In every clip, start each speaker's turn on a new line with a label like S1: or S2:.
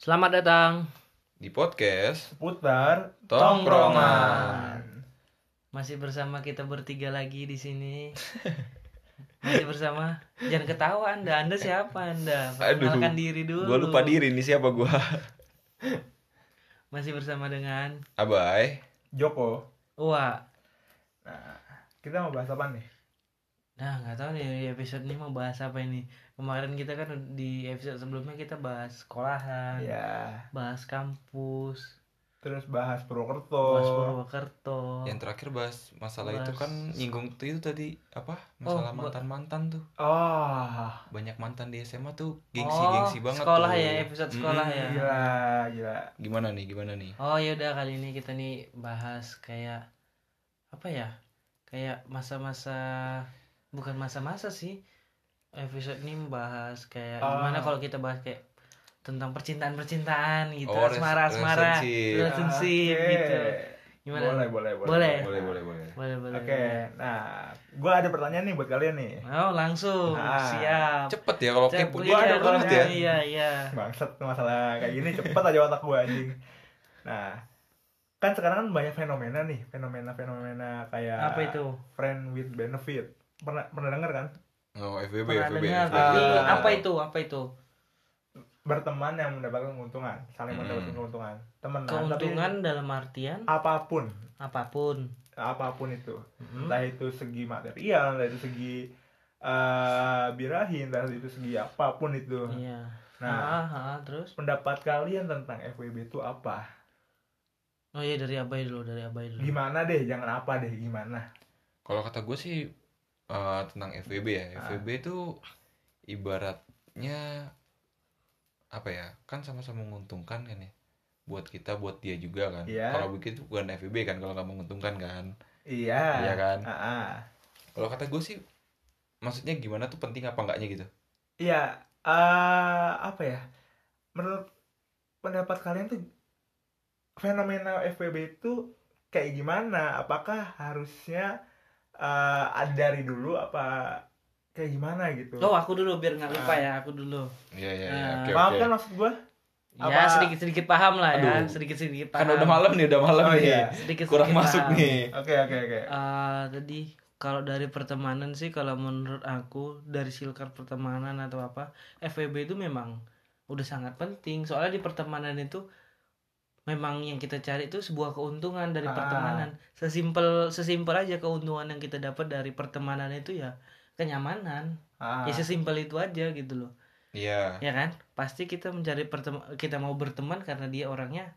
S1: Selamat datang.
S2: di podcast
S3: putar
S2: Tongkrongan.
S1: Masih bersama kita bertiga lagi di sini. Masih bersama. Jangan ketawa Anda. Anda siapa Anda?
S2: Aduh,
S1: Perkenalkan diri dulu.
S2: Gue lupa diri nih siapa gua
S1: Masih bersama dengan
S2: Abai.
S3: Joko
S1: Uwa.
S3: nah kita mau bahas apa nih
S1: Nah, nggak tahu nih di episode ini mau bahas apa ini. Kemarin kita kan di episode sebelumnya kita bahas sekolahan,
S2: Iya.
S3: ya
S1: bahas kampus,
S3: terus bahas
S1: bahas
S3: Purwokerto
S1: Purwokerto.
S2: Oh. Yang terakhir bahas masalah itu
S1: Oh. Bahas-
S2: kan nyinggung tuh itu tadi apa? Masalah
S1: Oh, gua-
S2: mantan-mantan tuh.
S3: oh
S2: Banyak mantan di SMA tuh gengsi-gengsi
S1: Oh,
S2: banget
S1: sekolah
S2: tuh. Iya.
S1: ya, episode sekolah ya.
S3: gila gila
S2: Gimana nih? Gimana nih?
S1: Oh yaudah kali ini kita nih bahas kayak apa ya? Kayak masa-masa bukan masa-masa sih. Episode ini membahas kayak
S3: Ah.
S1: gimana kalau kita bahas kayak tentang percintaan-percintaan gitu,
S2: Oh, res-
S1: asmara-asmara,
S2: relationship.
S1: relationship
S3: Ah, Oke.
S1: gitu. Gimana?
S3: boleh boleh boleh
S1: Boleh.
S2: Boleh, boleh, boleh.
S1: Boleh,
S3: oke
S1: boleh.
S3: nah gue ada pertanyaan nih buat kalian nih
S1: Oh, langsung.
S3: Ah.
S1: Siap.
S2: Cepet ya kalau
S1: Cep-
S2: kepo
S1: iya,
S2: gua ada
S1: iya,
S2: banget ya.
S1: Iya, iya.
S3: bangsat masalah kayak gini cepet aja otak gue anjing nah kan sekarang kan banyak fenomena nih fenomena fenomena kayak
S1: Apa itu?
S3: friend with benefit pernah pernah denger kan
S2: Oh, FBB,
S1: Pernah
S2: FBB.
S1: dengar,
S2: FBB.
S1: tapi
S3: Ah.
S1: apa itu? Apa itu?
S3: berteman yang mendapatkan keuntungan saling
S2: Hmm.
S3: mendapatkan keuntungan temenan
S1: Keuntungan dalam artian
S3: tapi apapun
S1: apapun.
S3: apapun itu
S1: Mhm.
S3: entah itu segi material entah itu segi eh birahi entah itu segi apapun itu
S1: Iya.
S3: nah
S1: Ah, ah, terus?
S3: pendapat kalian tentang FWB itu apa
S1: Oh iya dari abai dulu, dari abai dulu.
S3: gimana deh jangan apa deh gimana
S2: Kalau kata gue sih eh, tentang FVB ya.
S3: Ah.
S2: FVB itu ibaratnya apa ya? Kan sama-sama menguntungkan kan ya. Buat kita, buat dia juga kan.
S3: Iya.
S2: Kalau begitu bukan FVB kan kalau nggak menguntungkan kan.
S3: iya
S2: Iya kan?
S3: Ah, ah.
S2: Kalau kata gue sih maksudnya gimana tuh penting apa enggaknya gitu.
S3: iya eh, apa ya menurut pendapat kalian tuh fenomena FWB itu kayak gimana apakah harusnya eh, ada dari dulu apa kayak gimana gitu
S1: Oh aku dulu biar nggak lupa ya aku dulu.
S2: Iya iya
S1: iya. Oke,
S3: paham kan maksud gue
S1: Ya
S3: Apa-
S1: sedikit sedikit paham lah ya,
S2: Aduh.
S1: sedikit sedikit
S2: Kan
S1: paham.
S2: udah malam nih, udah malam
S3: Oh,
S2: nih.
S3: iya.
S1: Sedikit
S2: Kurang masuk nih.
S3: Oke oke oke.
S1: Iya, Eh, tadi kalau dari pertemanan sih kalau menurut aku dari silkar pertemanan atau apa FWB itu memang udah sangat penting soalnya di pertemanan itu memang yang kita cari itu sebuah keuntungan dari
S3: Ah.
S1: pertemanan sesimpel sesimpel aja keuntungan yang kita dapat dari pertemanan itu ya kenyamanan
S3: Ah,
S1: ya sesimpel itu aja gitu loh
S2: Iya.
S1: ya kan pasti kita mencari pertema- kita mau berteman karena dia orangnya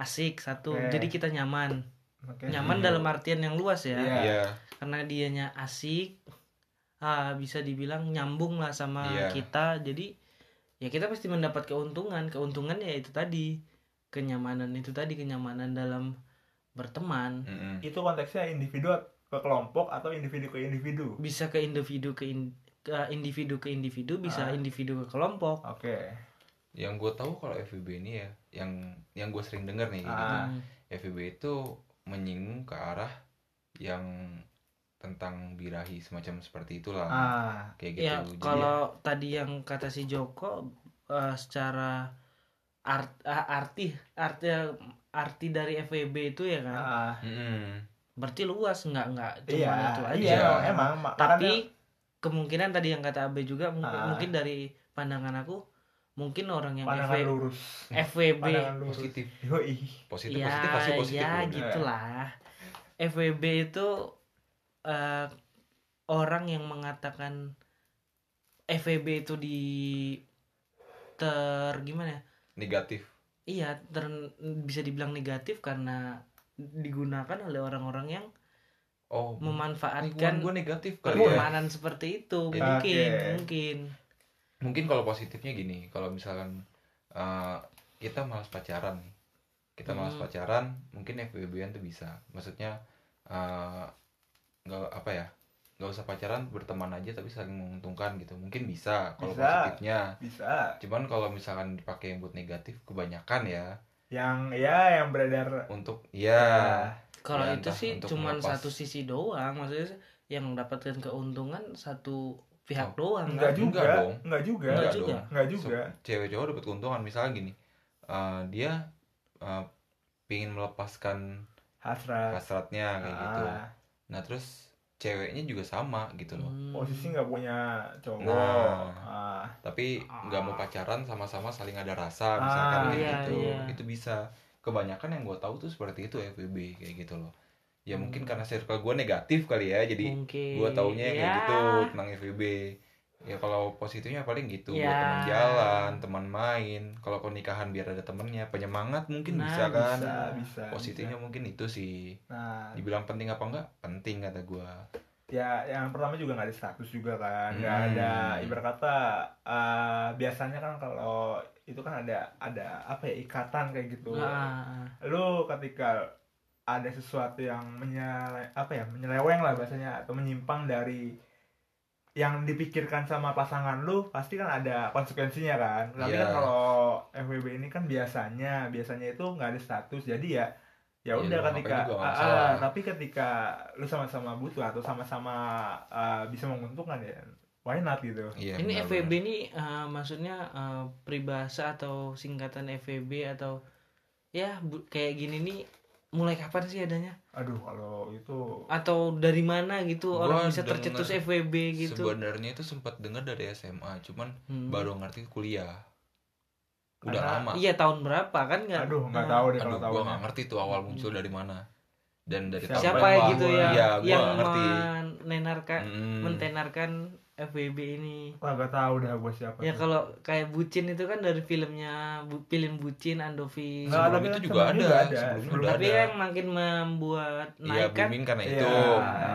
S1: asik satu
S3: Oke.
S1: jadi kita nyaman
S3: oke.
S1: nyaman dalam artian yang luas ya
S3: Iya.
S2: Iya.
S1: karena dianya asik ah, bisa dibilang nyambung lah sama
S2: Iya.
S1: kita jadi ya kita pasti mendapat keuntungan keuntungan ya itu tadi kenyamanan itu tadi kenyamanan dalam berteman
S2: Mm-mm.
S3: Itu konteksnya individu ke kelompok atau individu ke individu.
S1: bisa ke individu ke, in- ke individu ke individu bisa
S3: Ah.
S1: individu ke kelompok
S3: Oke.
S2: Yang gue tahu kalau FVB ini ya, yang yang gue sering denger nih kayak gitu.
S3: Ah.
S1: Hmm.
S2: FVB itu menyinggung ke arah yang tentang birahi semacam seperti itulah
S3: Ah,
S2: kayak gitu.
S1: Ya,
S2: Jadi,
S1: kalau tadi yang kata si Joko eh, secara art ah, arti arti arti dari FEB itu ya kan.
S3: ah.
S2: Mm-mm.
S1: Berarti luas nggak nggak cuma
S3: Iya,
S1: itu aja.
S3: iya,
S2: Iya.
S3: emang, emang.
S1: Tapi kemungkinan tadi yang kata Abe juga mungkin,
S3: Ah.
S1: mungkin dari pandangan aku mungkin orang
S3: Makanya
S1: yang
S3: pandangan
S1: FW
S3: lurus.
S1: FWB
S3: Pandangan lurus. Iya, gitu.
S2: positif,
S3: Yoi.
S2: positif,
S1: ya
S2: positif pasti positif.
S1: ya
S2: bro.
S1: gitulah. FWB itu eh, orang yang mengatakan FWB itu di ter gimana ya?
S2: Negatif.
S1: Iya, ter- bisa dibilang negatif karena digunakan oleh orang-orang yang
S2: Oh, lingkungan
S1: memanfaatkan
S2: gue negatif kali ya.
S1: pertemanan seperti itu.
S2: Oke.
S1: Mungkin, mungkin.
S2: mungkin kalau positifnya gini kalau misalkan eh, kita malas pacaran nih kita malas
S1: Hmm.
S2: pacaran mungkin FWB-an tuh bisa maksudnya eh, nggak apa ya nggak usah pacaran berteman aja tapi saling menguntungkan gitu mungkin bisa kalau
S3: Bisa.
S2: positifnya
S3: Bisa.
S2: cuman kalau misalkan dipakai buat negatif kebanyakan ya
S3: Yang ya yang beredar.
S2: untuk
S3: Ah,
S2: ya
S1: Kalau
S2: Ya,
S1: itu
S2: entah
S1: sih
S2: untuk
S1: cuman
S2: melepas.
S1: satu sisi doang, maksudnya yang mendapatkan keuntungan satu
S2: Oh.
S1: pihak doang. kan?
S3: enggak
S2: enggak
S3: juga.
S2: dong.
S3: Enggak juga.
S1: Enggak
S2: enggak
S1: Iya, juga.
S2: dong
S3: Enggak juga.
S2: So, cewek cowok dapat keuntungan misalnya gini eh, dia eh, pingin melepaskan
S1: Ah.
S3: hasrat
S2: hasratnya kayak gitu
S3: Ah,
S2: nah terus ceweknya juga sama gitu loh
S1: Hmm.
S3: posisi nggak punya cowok
S2: Nah.
S3: Ah,
S2: tapi nggak mau pacaran sama-sama saling ada rasa
S3: Ah,
S2: misalkan kayak
S1: Ah. iya,
S2: gitu
S1: iya.
S2: itu bisa kebanyakan yang gue tahu tuh seperti itu FWB kayak gitu loh ya
S1: Hmm.
S2: mungkin karena circle gue negatif kali ya jadi
S1: mungkin
S2: gue taunya
S1: ya.
S3: Iya.
S2: kayak gitu tentang FWB ya kalau positifnya paling gitu
S3: Iya.
S2: buat
S1: Ya.
S2: teman jalan teman main kalau pernikahan biar ada temennya penyemangat
S1: Nah,
S2: mungkin bisa kan
S3: bisa bisa
S2: positifnya mungkin itu sih
S3: bisa. nah
S2: dibilang penting apa enggak penting kata gue
S3: ya yang pertama juga nggak ada status juga kan nggak
S2: Hmm.
S3: ada ibarat kata eh, biasanya kan kalau itu kan ada ada apa ya ikatan kayak gitu
S1: Nah,
S3: lu ketika ada sesuatu yang menyele apa ya menyeleweng lah bahasanya atau menyimpang dari yang dipikirkan sama pasangan lu pasti kan ada konsekuensinya kan tapi kan
S2: Iya.
S3: kalau FWB ini kan biasanya biasanya itu nggak ada status jadi ya
S2: Iya,
S3: ya udah
S2: lu ngapain
S3: ketika
S2: juga nggak
S3: ah, ah,
S2: masalah.
S3: tapi ketika lu sama-sama butuh atau sama-sama ah, bisa menguntungkan ya why not gitu
S2: iya
S1: ini
S2: benar-benar.
S1: FWB ini eh, maksudnya eh, peribahasa atau singkatan FWB atau ya bu- kayak gini nih mulai kapan sih adanya
S3: aduh kalau itu
S1: atau dari mana gitu
S2: Gua
S1: orang bisa
S2: denger
S1: tercetus FWB gitu
S2: sebenarnya itu sempat dengar dari SMA cuman
S1: Hmm.
S2: baru ngerti kuliah udah
S3: Karena-
S2: lama
S1: iya tahun berapa kan nggak
S3: aduh nggak
S1: Nah,
S3: tahu deh
S2: aduh
S3: kalau
S2: gua
S3: tahu
S2: nggak ngerti tuh awal muncul dari mana dan dari
S3: Hmm. Siapa
S1: siapa
S2: berapa.
S1: gitu
S3: gua-
S1: ya
S2: iya gua
S1: yang
S2: nggak ngerti Hmm.
S1: menenarkan
S2: Mm-mm.
S1: mentenarkan FWB ini
S3: Wah, nggak tahu dah gue siapa
S1: ya
S3: tuh.
S1: kalau kayak bucin itu kan dari filmnya bu, film bucin Andovi
S3: Nggak
S2: sebelum
S3: ada,
S2: itu
S3: kan?
S2: juga
S3: Sebelumnya
S2: ada
S3: juga ada.
S2: sebelumnya
S3: Sebelum kan
S2: udah
S1: tapi
S2: ada
S1: yang makin membuat
S2: iya
S1: naik kan
S2: booming karena
S3: Iya,
S2: itu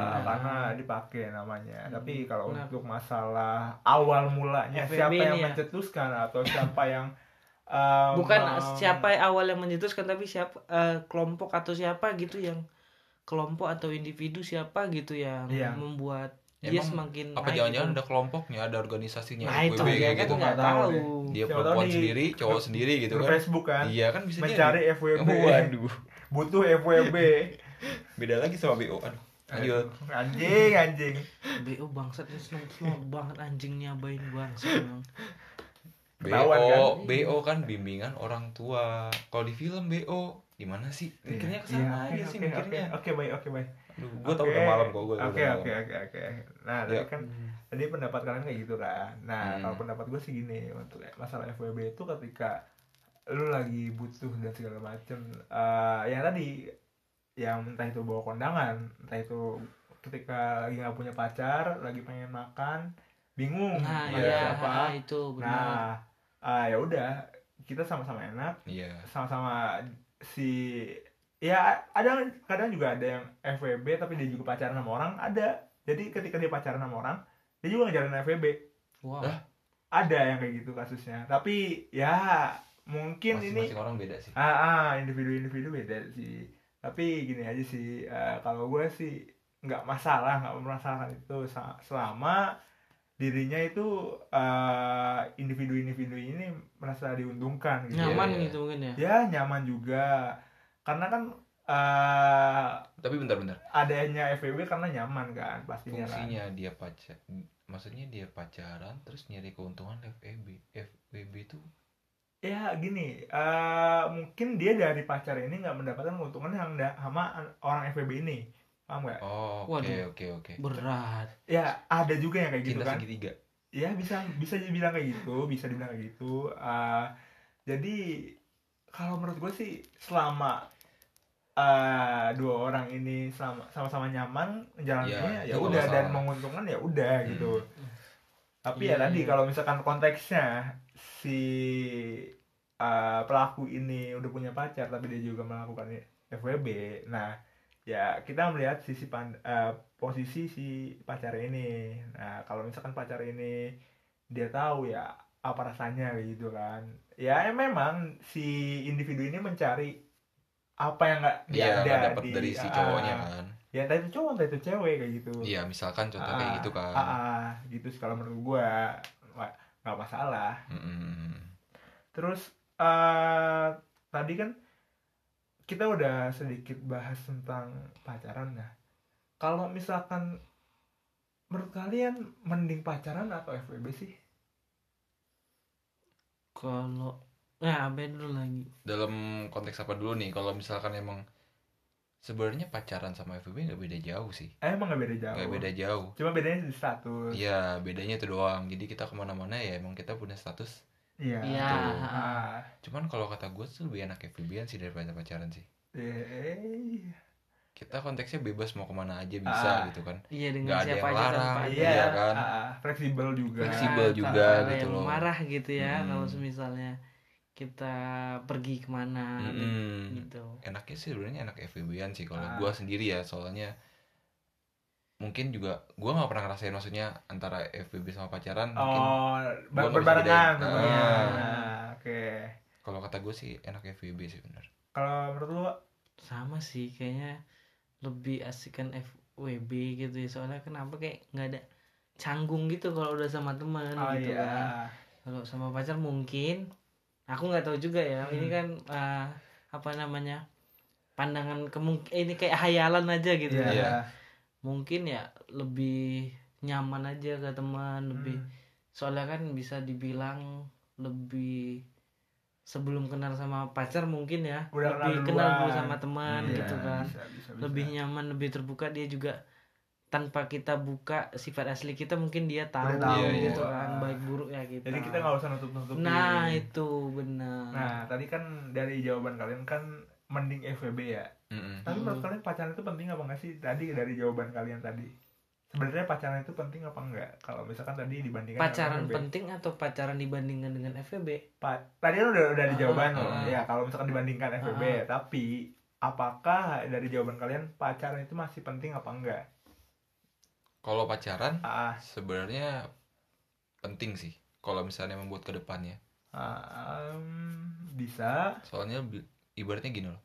S2: Nah.
S3: karena dipakai namanya. Tapi kalau
S1: Nah.
S3: untuk masalah awal mulanya
S1: FWB
S3: siapa
S1: ini
S3: yang
S1: ya?
S3: mencetuskan atau siapa yang um,
S1: bukan
S3: mem-
S1: siapa yang awal yang mencetuskan tapi siapa eh, kelompok atau siapa gitu yang kelompok atau individu siapa gitu yang
S3: Iya.
S1: membuat dia
S2: Emang
S1: semakin
S2: apa
S1: naik
S2: jangan-jangan
S1: gitu.
S2: ada kelompoknya ada organisasinya
S1: nah itu
S2: FWB
S1: dia kan
S2: kayak gitu
S1: nggak
S3: Nggak tahu
S1: tahu
S3: deh.
S2: dia
S3: Siapa tahu
S2: perempuan
S3: nih,
S2: sendiri cowok sendiri gitu
S3: grup
S2: kan
S3: Facebook kan
S2: iya kan bisa
S3: mencari
S2: jadi
S3: FWB
S2: waduh
S3: butuh FWB
S2: beda lagi sama BO aduh lanjut
S3: anjing anjing
S1: BO "Oh, bangsat ini snob snob banget anjingnya bain bangsat emang.
S3: Ketahuan
S2: BO,
S3: kan?
S2: BO kan bimbingan orang tua. Kalau di film BO, di mana sih? Mikirnya ke
S3: Iya,
S2: sana aja
S3: oke,
S2: sih
S3: oke,
S2: mikirnya.
S3: oke oke baik oke baik
S2: Aduh, gua tau
S3: Oke.
S2: udah malam kok gua. tau
S3: oke
S2: udah
S3: oke
S2: malam.
S3: oke oke nah
S2: Ya.
S3: tadi kan tadi pendapat kalian kayak gitu kan nah
S2: Hmm.
S3: kalau pendapat gue sih gini untuk masalah FWB itu ketika lu lagi butuh dan segala macem eh yang tadi yang entah itu bawa kondangan entah itu ketika lagi nggak punya pacar lagi pengen makan bingung
S1: Nah,
S3: mau
S2: Iya.
S1: iya,
S3: siapa
S1: ha, itu benar.
S3: nah ah, ya udah kita sama-sama enak
S2: Iya.
S3: sama-sama si ya ada kadang juga ada yang FWB tapi dia juga pacaran sama orang ada jadi ketika dia pacaran sama orang dia juga ngejalanin FWB
S1: Wow.
S2: Hah?
S3: ada yang kayak gitu kasusnya tapi ya mungkin ini
S2: Masing-masing orang beda sih.
S3: ah, ah, individu-individu beda sih tapi gini aja sih eh, kalau gue sih nggak masalah nggak merasakan itu sa- selama dirinya itu eh, individu-individu ini merasa diuntungkan gitu
S1: Nyaman
S2: Iya, iya.
S1: gitu mungkin ya.
S3: ya nyaman juga karena kan eh,
S2: Tapi bentar-bentar.
S3: adanya FWB karena nyaman kan pastinya kan
S2: Fungsinya dia pacar maksudnya dia pacaran terus nyari keuntungan E FWB. FWB itu
S3: ya gini eh, mungkin dia dari pacar ini nggak mendapatkan keuntungan yang da- sama an- orang FWB ini paham nggak
S2: oh
S1: Waduh.
S2: oke oke oke.
S1: Berat.
S3: ya ada juga yang kayak gitu
S2: Cinta
S3: kan
S2: segitiga.
S3: ya bisa bisa dibilang kayak gitu bisa dibilang kayak gitu Eh, jadi kalau menurut gue sih selama eh, dua orang ini sama- sama-sama nyaman jalannya
S2: Ya,
S3: ya
S2: itu
S3: udah
S2: nggak
S3: dan
S2: masalah.
S3: menguntungkan ya udah
S2: Hmm.
S3: gitu tapi
S1: Iya,
S3: ya tadi
S1: iya.
S3: kalau misalkan konteksnya si eh, pelaku ini udah punya pacar tapi dia juga melakukan FWB nah ya kita melihat sisi pand- eh, posisi si pacar ini nah kalau misalkan pacar ini dia tahu ya apa rasanya kayak gitu kan ya em- memang si individu ini mencari apa yang nggak
S2: Dia
S3: nggak
S2: Iya, nggak
S3: ada
S2: dapat
S3: di-
S2: dari si
S3: ah,
S2: cowoknya kan.
S3: ya entah itu cowok entah itu cewek kayak gitu
S2: Iya, misalkan contoh kayak
S3: Ah,
S2: gitu kan.
S3: ah, ah, gitu sih kalau menurut gua Wah, nggak masalah
S2: Mm-mm.
S3: terus eh tadi kan kita udah sedikit bahas tentang pacaran ya kalau misalkan menurut kalian mending pacaran atau FWB sih
S1: Kalau Nah, abe dulu lagi.
S2: dalam konteks apa dulu nih kalau misalkan emang sebenarnya pacaran sama FWB nggak beda jauh sih
S3: Eh, emang gak beda jauh
S2: nggak beda jauh
S3: cuma bedanya di status
S2: Iya bedanya itu doang jadi kita kemana-mana ya emang kita punya status
S3: iya
S1: Iya.
S2: betul.
S1: ha-ha.
S3: Ah,
S2: cuman kalau kata gue tuh lebih enak FWB-an sih daripada pacaran sih
S3: eh,
S2: kita konteksnya bebas mau kemana aja bisa
S3: Ah.
S2: gitu kan
S1: Iya dengan
S2: Nggak ada
S1: siapa
S2: yang
S1: aja
S2: larang,
S1: tanpa ada.
S3: iya
S2: Iya kan?
S3: ah, ah, fleksibel juga Ah,
S2: Fleksibel
S1: Nah,
S2: juga
S1: tak ada
S2: gitu
S1: yang
S2: loh.
S1: Marah gitu ya
S2: Mm.
S1: kalau misalnya kita pergi kemana
S2: Mm-mm.
S1: gitu.
S2: enaknya sih sebenarnya enak FWB-an sih kalau
S3: Ah.
S2: gua sendiri ya soalnya mungkin juga gua nggak pernah ngerasain maksudnya antara FWB sama pacaran mungkin
S3: oh
S2: Gua nggak
S3: bar-
S2: bisa
S3: berbarengan
S2: bedain.
S3: berbarengan.
S1: Ah.
S3: Ah, oke
S2: kalau kata gue sih enak FWB sih bener
S3: kalau menurut lu
S1: Sama sih kayaknya lebih asik kan FWB gitu ya. Soalnya kenapa kayak nggak ada canggung gitu kalau udah sama teman
S3: oh
S1: gitu
S3: iya
S1: kan. Kalau sama pacar mungkin aku nggak tahu juga ya. Ini
S3: Hmm.
S1: kan eh, apa namanya? pandangan kemungkin ini kayak hayalan aja gitu ya.
S3: iya
S2: Iya.
S1: mungkin ya lebih nyaman aja ke teman lebih
S3: Hmm.
S1: soalnya kan bisa dibilang lebih sebelum kenal sama pacar mungkin ya
S3: Udah kenal
S1: lebih kenal dulu
S3: duluan.
S1: sama teman
S2: Iya,
S1: gitu kan
S3: bisa, bisa, bisa.
S1: lebih nyaman lebih terbuka dia juga tanpa kita buka sifat asli kita mungkin dia tahu,
S3: Udah tahu.
S2: Iya, iya.
S1: gitu kan baik buruk ya kita
S3: jadi kita nggak usah nutup nutupin
S1: nah itu benar
S3: Nah, tadi kan dari jawaban kalian kan mending FWB ya.
S2: Mm-mm.
S3: Tapi
S1: Hmm.
S3: menurut kalian pacaran itu penting apa enggak sih? Tadi dari jawaban kalian tadi. Sebenarnya pacaran itu penting apa enggak? Kalau misalkan tadi dibandingkan dengan
S1: pacaran
S3: FWB.
S1: penting atau pacaran dibandingkan dengan FVB
S3: Pa- tadi kan udah udah di
S1: Ah,
S3: jawaban
S2: ah,
S3: loh.
S2: ah.
S3: Ya, kalau misalkan dibandingkan FWB,
S1: Ah,
S3: tapi apakah dari jawaban kalian pacaran itu masih penting apa enggak?
S2: kalau pacaran
S3: Ah,
S2: sebenarnya penting sih kalau misalnya membuat ke depannya
S3: ah, em, bisa.
S2: soalnya bi- ibaratnya gini loh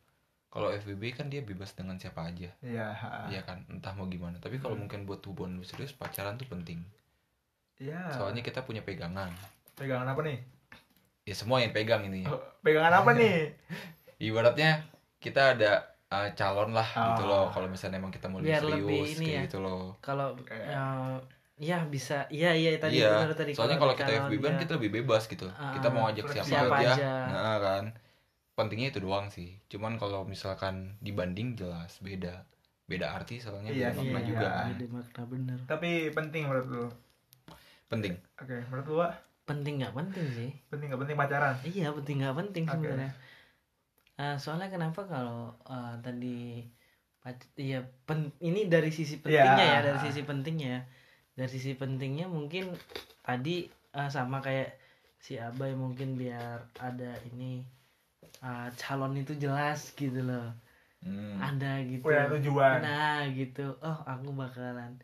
S2: kalau FWB kan dia bebas dengan siapa aja
S3: Ya, ah,
S2: Iya kan entah mau gimana tapi kalau
S3: Hmm.
S2: mungkin buat hubungan lu serius pacaran tuh penting
S3: ya.
S2: soalnya kita punya pegangan
S3: pegangan apa nih?
S2: ya semua yang pegang ini
S3: Oh, Pegangan apa nih?
S2: ibaratnya kita ada eh, calon lah gitu
S3: Ah.
S2: loh kalau misalnya emang kita mau lebih
S1: Biar
S2: serius
S1: lebih ini
S2: kayak
S1: ya.
S2: gitu loh
S1: kalau
S3: Kayak-
S1: eh, ya bisa iya iya tadi
S2: iya,
S1: benar tadi
S2: soalnya kalau kita
S1: calon,
S2: FBB kan
S1: iya.
S2: kita lebih bebas gitu.
S1: Ah,
S2: kita mau ngajak siapa,
S1: siapa
S2: aja.
S1: aja.
S2: Nah, kan. Pentingnya itu doang sih. Cuman kalau misalkan dibanding jelas beda. Beda arti soalnya
S3: Iya
S2: beda
S3: sih,
S2: makna
S3: iya.
S2: juga kan.
S1: Beda makna bener
S3: Tapi penting menurut lu.
S2: Penting.
S3: Oke, menurut lu Wak?
S1: penting nggak penting sih
S3: penting nggak penting pacaran?
S1: iya penting nggak penting
S3: Oke.
S1: sebenarnya Eh, soalnya kenapa kalau eh, tadi pac- iya pen- ini dari sisi pentingnya ya
S3: Ya.
S1: dari sisi pentingnya ya. dari sisi pentingnya mungkin tadi eh, sama kayak si abai mungkin biar ada ini eh, calon itu jelas gitu loh
S2: Hmm.
S1: ada gitu
S3: Punya Oh ya, tujuan.
S1: Nah gitu, oh aku bakalan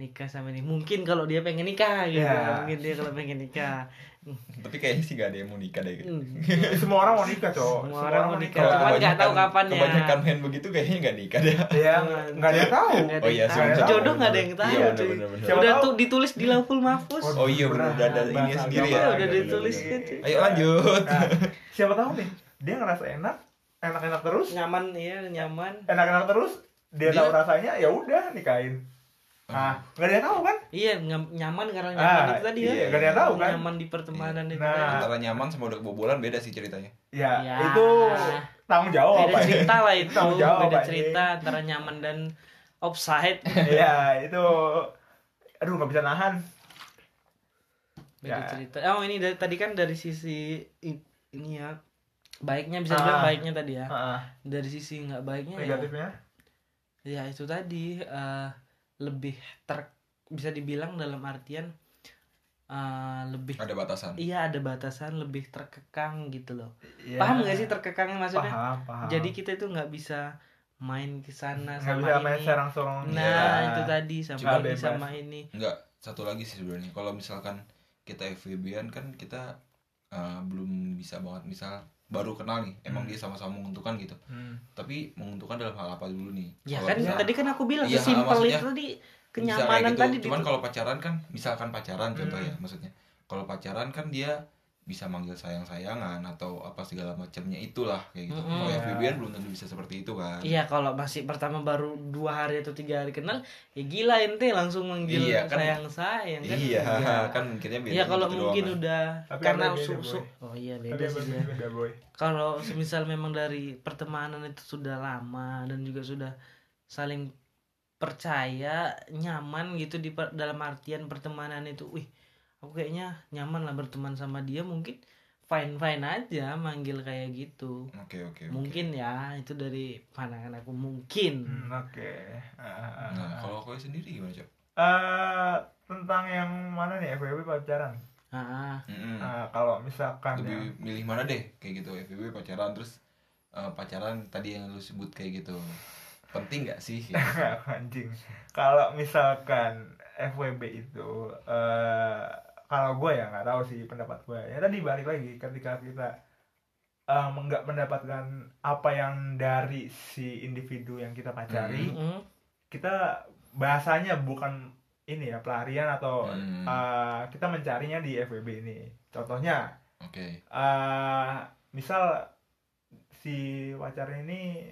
S1: nikah sama ini. Mungkin kalau dia pengen nikah gitu,
S3: Ya.
S1: mungkin dia kalau pengen nikah.
S2: Tapi kayaknya sih gak ada yang mau nikah deh
S1: Hmm.
S3: Semua orang mau nikah, Cok.
S1: Semua orang mau nikah, cuman nggak tahu kapan ya.
S2: main begitu kayaknya gak nikah deh.
S3: Ya, nggak ada yang tahu.
S1: Nggak ada
S2: Oh
S1: yang
S2: iya,
S1: tahu.
S3: semua orang
S1: jodoh
S2: tahu.
S1: nggak ada yang tahu.
S2: Iya,
S1: cuy.
S2: bener-bener.
S3: Siapa
S1: Udah
S3: tahu?
S1: tuh ditulis di lauful mahfuz.
S2: Oh iya, bener, udah ada ininya
S3: Bahasa
S2: sendiri
S1: ya.
S3: agama.
S1: Udah ditulis
S3: Iya.
S1: gitu.
S2: Ayo lanjut.
S1: Ah.
S3: Nah, siapa tahu nih, dia ngerasa enak, enak-enak terus,
S1: Nyaman ya, nyaman.
S3: enak-enak terus, dia
S2: Dia-
S3: tahu rasanya, ya udah nikahin.
S1: Oh.
S3: Nah, nggak ada yang tahu kan?
S1: Iya, nyam- nyaman karena nyaman
S3: Ah,
S1: itu tadi
S3: iya,
S1: ya.
S3: nggak ada yang tahu kan?
S1: Nyaman di pertemanan itu ya.
S3: Nah.
S1: tadi.
S2: Antara nyaman sama udah kebobolan beda sih ceritanya.
S3: Ya,
S1: Ya.
S3: itu tanggung jawab.
S1: Beda
S3: Pak.
S1: cerita lah itu,
S3: oh, Tanggung jawab,
S1: beda
S3: Pak.
S1: cerita antara nyaman dan offside.
S3: Iya, itu aduh nggak bisa nahan.
S1: beda
S3: Ya.
S1: cerita oh ini dari tadi kan dari sisi i- ini ya baiknya bisa dibilang
S3: Ah.
S1: baiknya tadi ya
S3: Heeh,
S1: dari sisi nggak baiknya ya,
S3: negatifnya.
S1: ya itu tadi eh, lebih ter bisa dibilang dalam artian eh, lebih
S2: Ada batasan.
S1: iya ada batasan lebih terkekang gitu loh
S3: Iya.
S1: paham nggak sih terkekangnya maksudnya
S3: Paham, paham.
S1: jadi kita itu nggak bisa main ke sana
S3: Ah. nggak
S1: sama
S3: bisa main
S1: ini
S3: serang-serang. Iya.
S1: nah itu tadi
S3: Nggak
S1: sama ini
S3: bebas.
S1: sama ini
S2: Enggak, satu lagi sih sebenarnya. Kalau misalkan kita FVB-an kan kita eh, belum bisa banget misal baru kenal nih, emang
S3: Hmm.
S2: dia sama-sama menguntungkan gitu.
S3: Hmm.
S2: Tapi menguntungkan dalam hal apa dulu nih?
S1: ya
S2: Kalau
S1: kan
S2: misal-
S1: tadi kan aku bilang
S2: Iya,
S1: sesimpel
S2: maksudnya
S1: itu tadi
S2: misal kayak
S1: kenyamanan
S2: gitu.
S1: tadi
S2: Cuman
S1: ditu-
S2: kalau pacaran kan misalkan pacaran contoh
S3: Hmm.
S2: ya maksudnya. Kalau pacaran kan dia bisa manggil sayang-sayangan atau apa segala macamnya itulah kayak gitu.
S1: Mm-mm.
S2: Kalau
S3: Ya.
S2: FBB kan belum tentu bisa seperti itu kan.
S1: Hmm. Iya kalau masih pertama baru dua hari atau tiga hari kenal ya gila ente langsung manggil
S2: Iya, kan-
S1: sayang sayang kan
S2: Iya,
S1: Iya.
S2: kan mungkinnya beda.
S1: Iya kalau
S2: gitu
S1: mungkin
S2: doang kan.
S1: udah
S3: Tapi
S1: karena
S3: ada beda,
S1: su-
S3: Boy.
S1: su- oh iya
S3: Tapi
S1: beda sih
S3: bagus
S1: ya.
S3: juga, boy.
S1: Kalau semisal memang dari pertemanan itu sudah lama dan juga sudah saling percaya, nyaman gitu di per- dalam artian pertemanan itu, wih, aku kayaknya nyaman lah berteman sama dia mungkin fine fine aja manggil kayak gitu.
S2: Oke, oke, oke.
S1: Mungkin ya itu dari pandangan aku mungkin.
S3: Hmm, Oke. Ah, ah, ah,
S2: Nah,
S3: ah.
S2: kalau kau sendiri gimana, Cok?
S3: Eh, tentang yang mana nih FWB pacaran?
S1: Ah, ah.
S2: Mm-mm.
S3: Ah, kalau misalkan
S2: Hmm. lebih
S3: ya,
S2: milih mana deh kayak gitu FBB pacaran terus eh, pacaran tadi yang lu sebut kayak gitu penting nggak sih Kayak gitu.
S3: anjing kalau misalkan FWB itu eh kalau gue ya nggak tahu sih pendapat gue ya tadi balik lagi ketika kita eh, nggak mendapatkan apa yang dari si individu yang kita pacari
S1: Mm-mm.
S3: kita bahasanya bukan ini ya pelarian atau
S2: Hmm,
S3: eh, kita mencarinya di FWB ini contohnya
S2: oke
S3: eh misal si pacarnya ini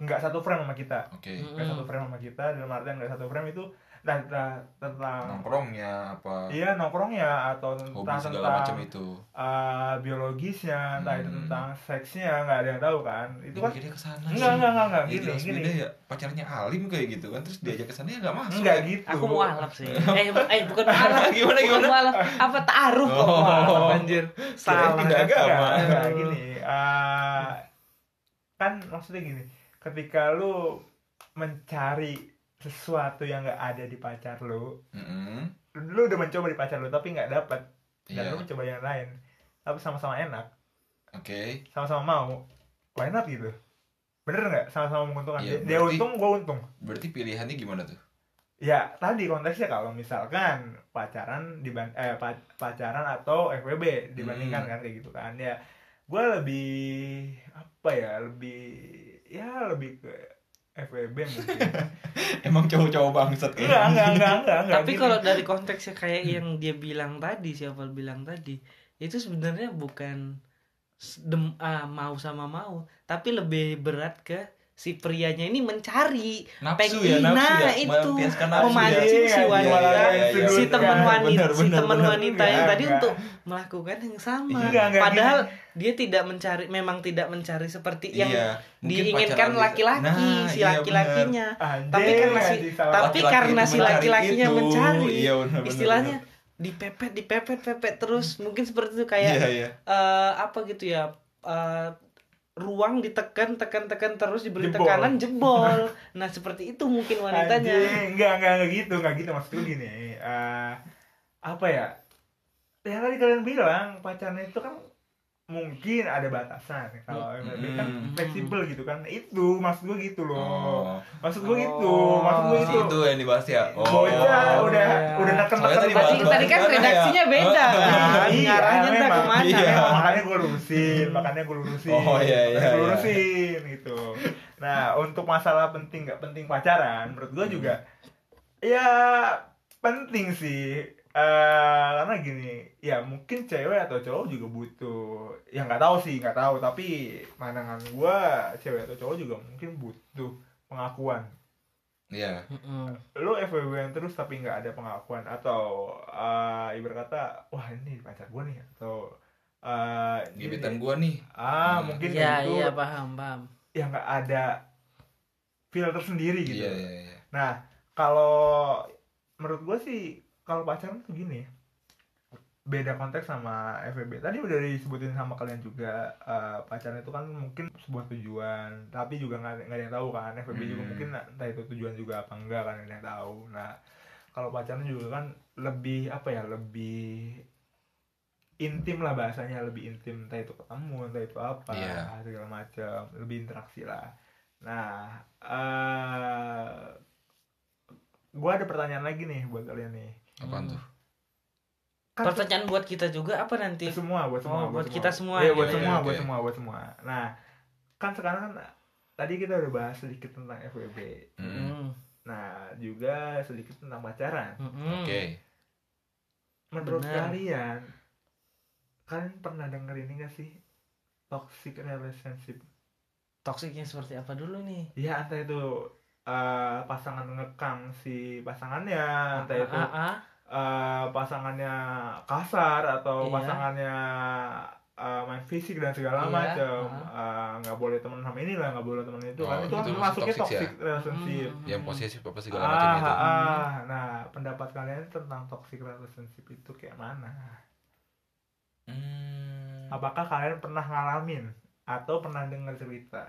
S3: nggak satu frame sama kita
S2: oke
S1: Mm-mm.
S3: nggak satu
S2: Hmm.
S3: frame sama kita dalam artian nggak satu frame itu nah, nah, tentang
S2: nongkrongnya apa
S3: iya nongkrongnya atau tentang
S2: hobi segala
S3: tentang
S2: macam itu
S3: eh, biologisnya entah itu
S2: Hmm.
S3: tentang seksnya nggak ada yang tahu kan itu kan
S2: Ya, mikirnya kesana
S3: enggak enggak enggak enggak
S2: Iya,
S3: gini
S2: jelas
S3: gini
S2: beda ya pacarnya alim kayak gitu kan terus diajak kesana ya nggak masuk
S3: enggak
S2: ya.
S3: gitu
S1: Aku mualaf sih. Eh, bu- eh bukan mualaf.
S2: Gimana,
S1: Bukan
S2: gimana?
S1: mualaf. Apa taruh?
S2: Oh.
S1: Mualaf, anjir. Salah.
S2: tidak agama.
S3: Enggak, enggak, gini eh, kan maksudnya gini ketika lu mencari sesuatu yang nggak ada di pacar lu
S2: Mm-mm.
S3: lu udah mencoba di pacar lu tapi nggak dapet dan
S2: iya
S3: lu mencoba yang lain tapi sama-sama enak
S2: oke
S3: sama-sama mau why not gitu bener nggak sama-sama menguntungkan
S2: Iya,
S3: dia, dia
S2: berarti-
S3: untung gua untung
S2: berarti pilihannya gimana tuh
S3: ya tadi konteksnya kalau misalkan pacaran diban eh pa- pacaran atau FWB dibandingkan
S2: Hmm.
S3: kan kayak gitu kan ya gue lebih apa ya lebih ya lebih ke FWB mungkin
S2: emang cowok-cowok bangsat ya? kayak
S3: enggak enggak enggak enggak gitu. enggak
S1: Tapi
S3: gini.
S1: kalau dari konteksnya kayak
S2: Hmm.
S1: yang dia bilang tadi, siapa bilang tadi, itu sebenarnya bukan s- dem ah, mau sama mau, tapi lebih berat ke si prianya ini mencari
S2: nafsu
S1: Pengen-
S2: ya nafsu
S1: nah,
S2: ya
S1: itu.
S2: melampiaskan nafsu ya
S1: Memancing si
S3: Iya,
S1: wanita,
S3: iya, iya, iya,
S1: si
S3: iya,
S1: teman
S3: iya.
S1: wanita,
S2: Benar,
S1: si
S2: benar,
S1: teman
S2: benar. Iya,
S1: wanita yang
S3: Enggak,
S1: tadi
S3: enggak.
S1: untuk melakukan yang sama.
S3: Enggak, enggak,
S1: Padahal
S3: gini.
S1: dia tidak mencari, memang tidak mencari seperti yang
S2: Iya, mungkin pacaran
S1: diinginkan
S2: bisa-
S1: laki-laki,
S2: Nah,
S1: si
S2: iya, benar.
S1: laki-lakinya.
S3: Anjing,
S1: tapi kan masih-
S3: anjing, salah.
S1: tapi
S2: Laki-laki
S1: karena
S2: itu
S1: si
S2: mencari
S1: laki-lakinya
S2: itu.
S1: mencari,
S2: Iya, benar, benar, Hmm.
S1: istilahnya dipepet dipepet pepet terus mungkin seperti itu kayak
S2: iya iya
S1: eh, apa gitu ya eh, ruang ditekan tekan tekan terus diberi
S3: Jebol.
S1: tekanan jebol nah seperti itu mungkin wanitanya
S3: Anjing, enggak, enggak, enggak gitu, enggak gitu maksud gue gini. eh, apa ya? Yang tadi kalian bilang pacarnya itu kan mungkin ada batasan kalau
S2: Hmm.
S3: MLB kan
S2: Hmm.
S3: fleksibel gitu kan itu maksud gue gitu loh
S2: oh
S3: maksud
S1: Oh.
S3: gue gitu maksud gue
S2: Si
S3: itu
S2: itu yang dibahas ya oh
S3: bocah udah
S1: Iya.
S3: udah neken
S2: Soalnya
S3: neken
S1: tadi,
S2: tadi bahas-
S1: tadi kan
S2: bahas-
S1: redaksinya
S2: bahas-
S1: beda kan
S3: Iya,
S1: ngarahnya entah
S3: memang.
S1: kemana
S2: Iya.
S1: memang.
S3: makanya gue lurusin makanya gue lurusin
S2: Oh, iya, iya,
S3: makanya gue
S2: iya.
S3: lurusin gitu nah untuk masalah penting nggak penting pacaran menurut gue juga
S2: Hmm.
S3: ya penting sih Eh, karena gini ya mungkin cewek atau cowok juga butuh ya nggak tahu sih nggak tahu tapi pandangan gue cewek atau cowok juga mungkin butuh pengakuan
S2: iya
S1: Mm-mm.
S3: lu FWB terus tapi nggak ada pengakuan atau eh ibarat kata wah ini pacar gue nih atau eh ini
S2: gebetan
S3: nih.
S2: gua nih
S3: ah
S2: Hmm.
S3: mungkin gitu.
S1: Iya
S3: itu
S1: iya paham paham
S3: yang nggak ada filter sendiri gitu
S2: iya iya iya
S3: nah kalau menurut gue sih kalau pacaran tuh gini beda konteks sama FWB tadi udah disebutin sama kalian juga eh, pacaran itu kan mungkin sebuah tujuan tapi juga nggak nggak ada yang tahu kan FWB juga
S2: Hmm.
S3: mungkin entah itu tujuan juga apa enggak kan nggak ada yang tahu nah kalau pacaran juga kan lebih apa ya lebih intim lah bahasanya lebih intim entah itu ketemu entah itu apa
S2: Iya.
S3: segala macam lebih interaksi lah nah eh gue ada pertanyaan lagi nih buat kalian nih
S2: apaan
S1: Hmm.
S2: tuh
S3: Kan-
S1: pertanyaan buat kita juga apa nanti
S3: semua buat
S1: Oh,
S3: semua
S1: buat kita semua.
S3: Iya, buat
S2: Iya,
S3: semua
S2: iya,
S3: buat
S2: oke.
S3: semua buat semua nah kan sekarang kan tadi kita udah bahas sedikit tentang FWB
S1: Mm.
S2: Mm-mm.
S3: nah juga sedikit
S2: Hmm.
S1: Hmm.
S3: tentang pacaran
S1: Mm-mm.
S2: oke
S3: menurut
S1: Benar.
S3: kalian kalian pernah denger ini gak sih toxic relationship
S1: Toksiknya seperti apa dulu nih?
S3: ya entah itu eh, pasangan ngekang si pasangannya entah itu
S1: Ah, ah,
S3: eh, pasangannya kasar atau
S1: Iya.
S3: pasangannya eh, main fisik dan segala
S1: Iya,
S3: macam Eh, nggak boleh temen sama ini lah nggak boleh temen itu
S2: Oh,
S3: kan itu,
S2: itu
S3: kan
S2: masuk
S3: masuknya
S2: toxic ya?
S3: toxic relationship
S1: Hmm. gitu.
S2: yang posesif apa segala
S3: ah,
S2: macam itu
S3: ah, ah. nah pendapat kalian tentang toxic relationship itu kayak mana
S2: Hmm.
S3: apakah kalian pernah ngalamin atau pernah dengar cerita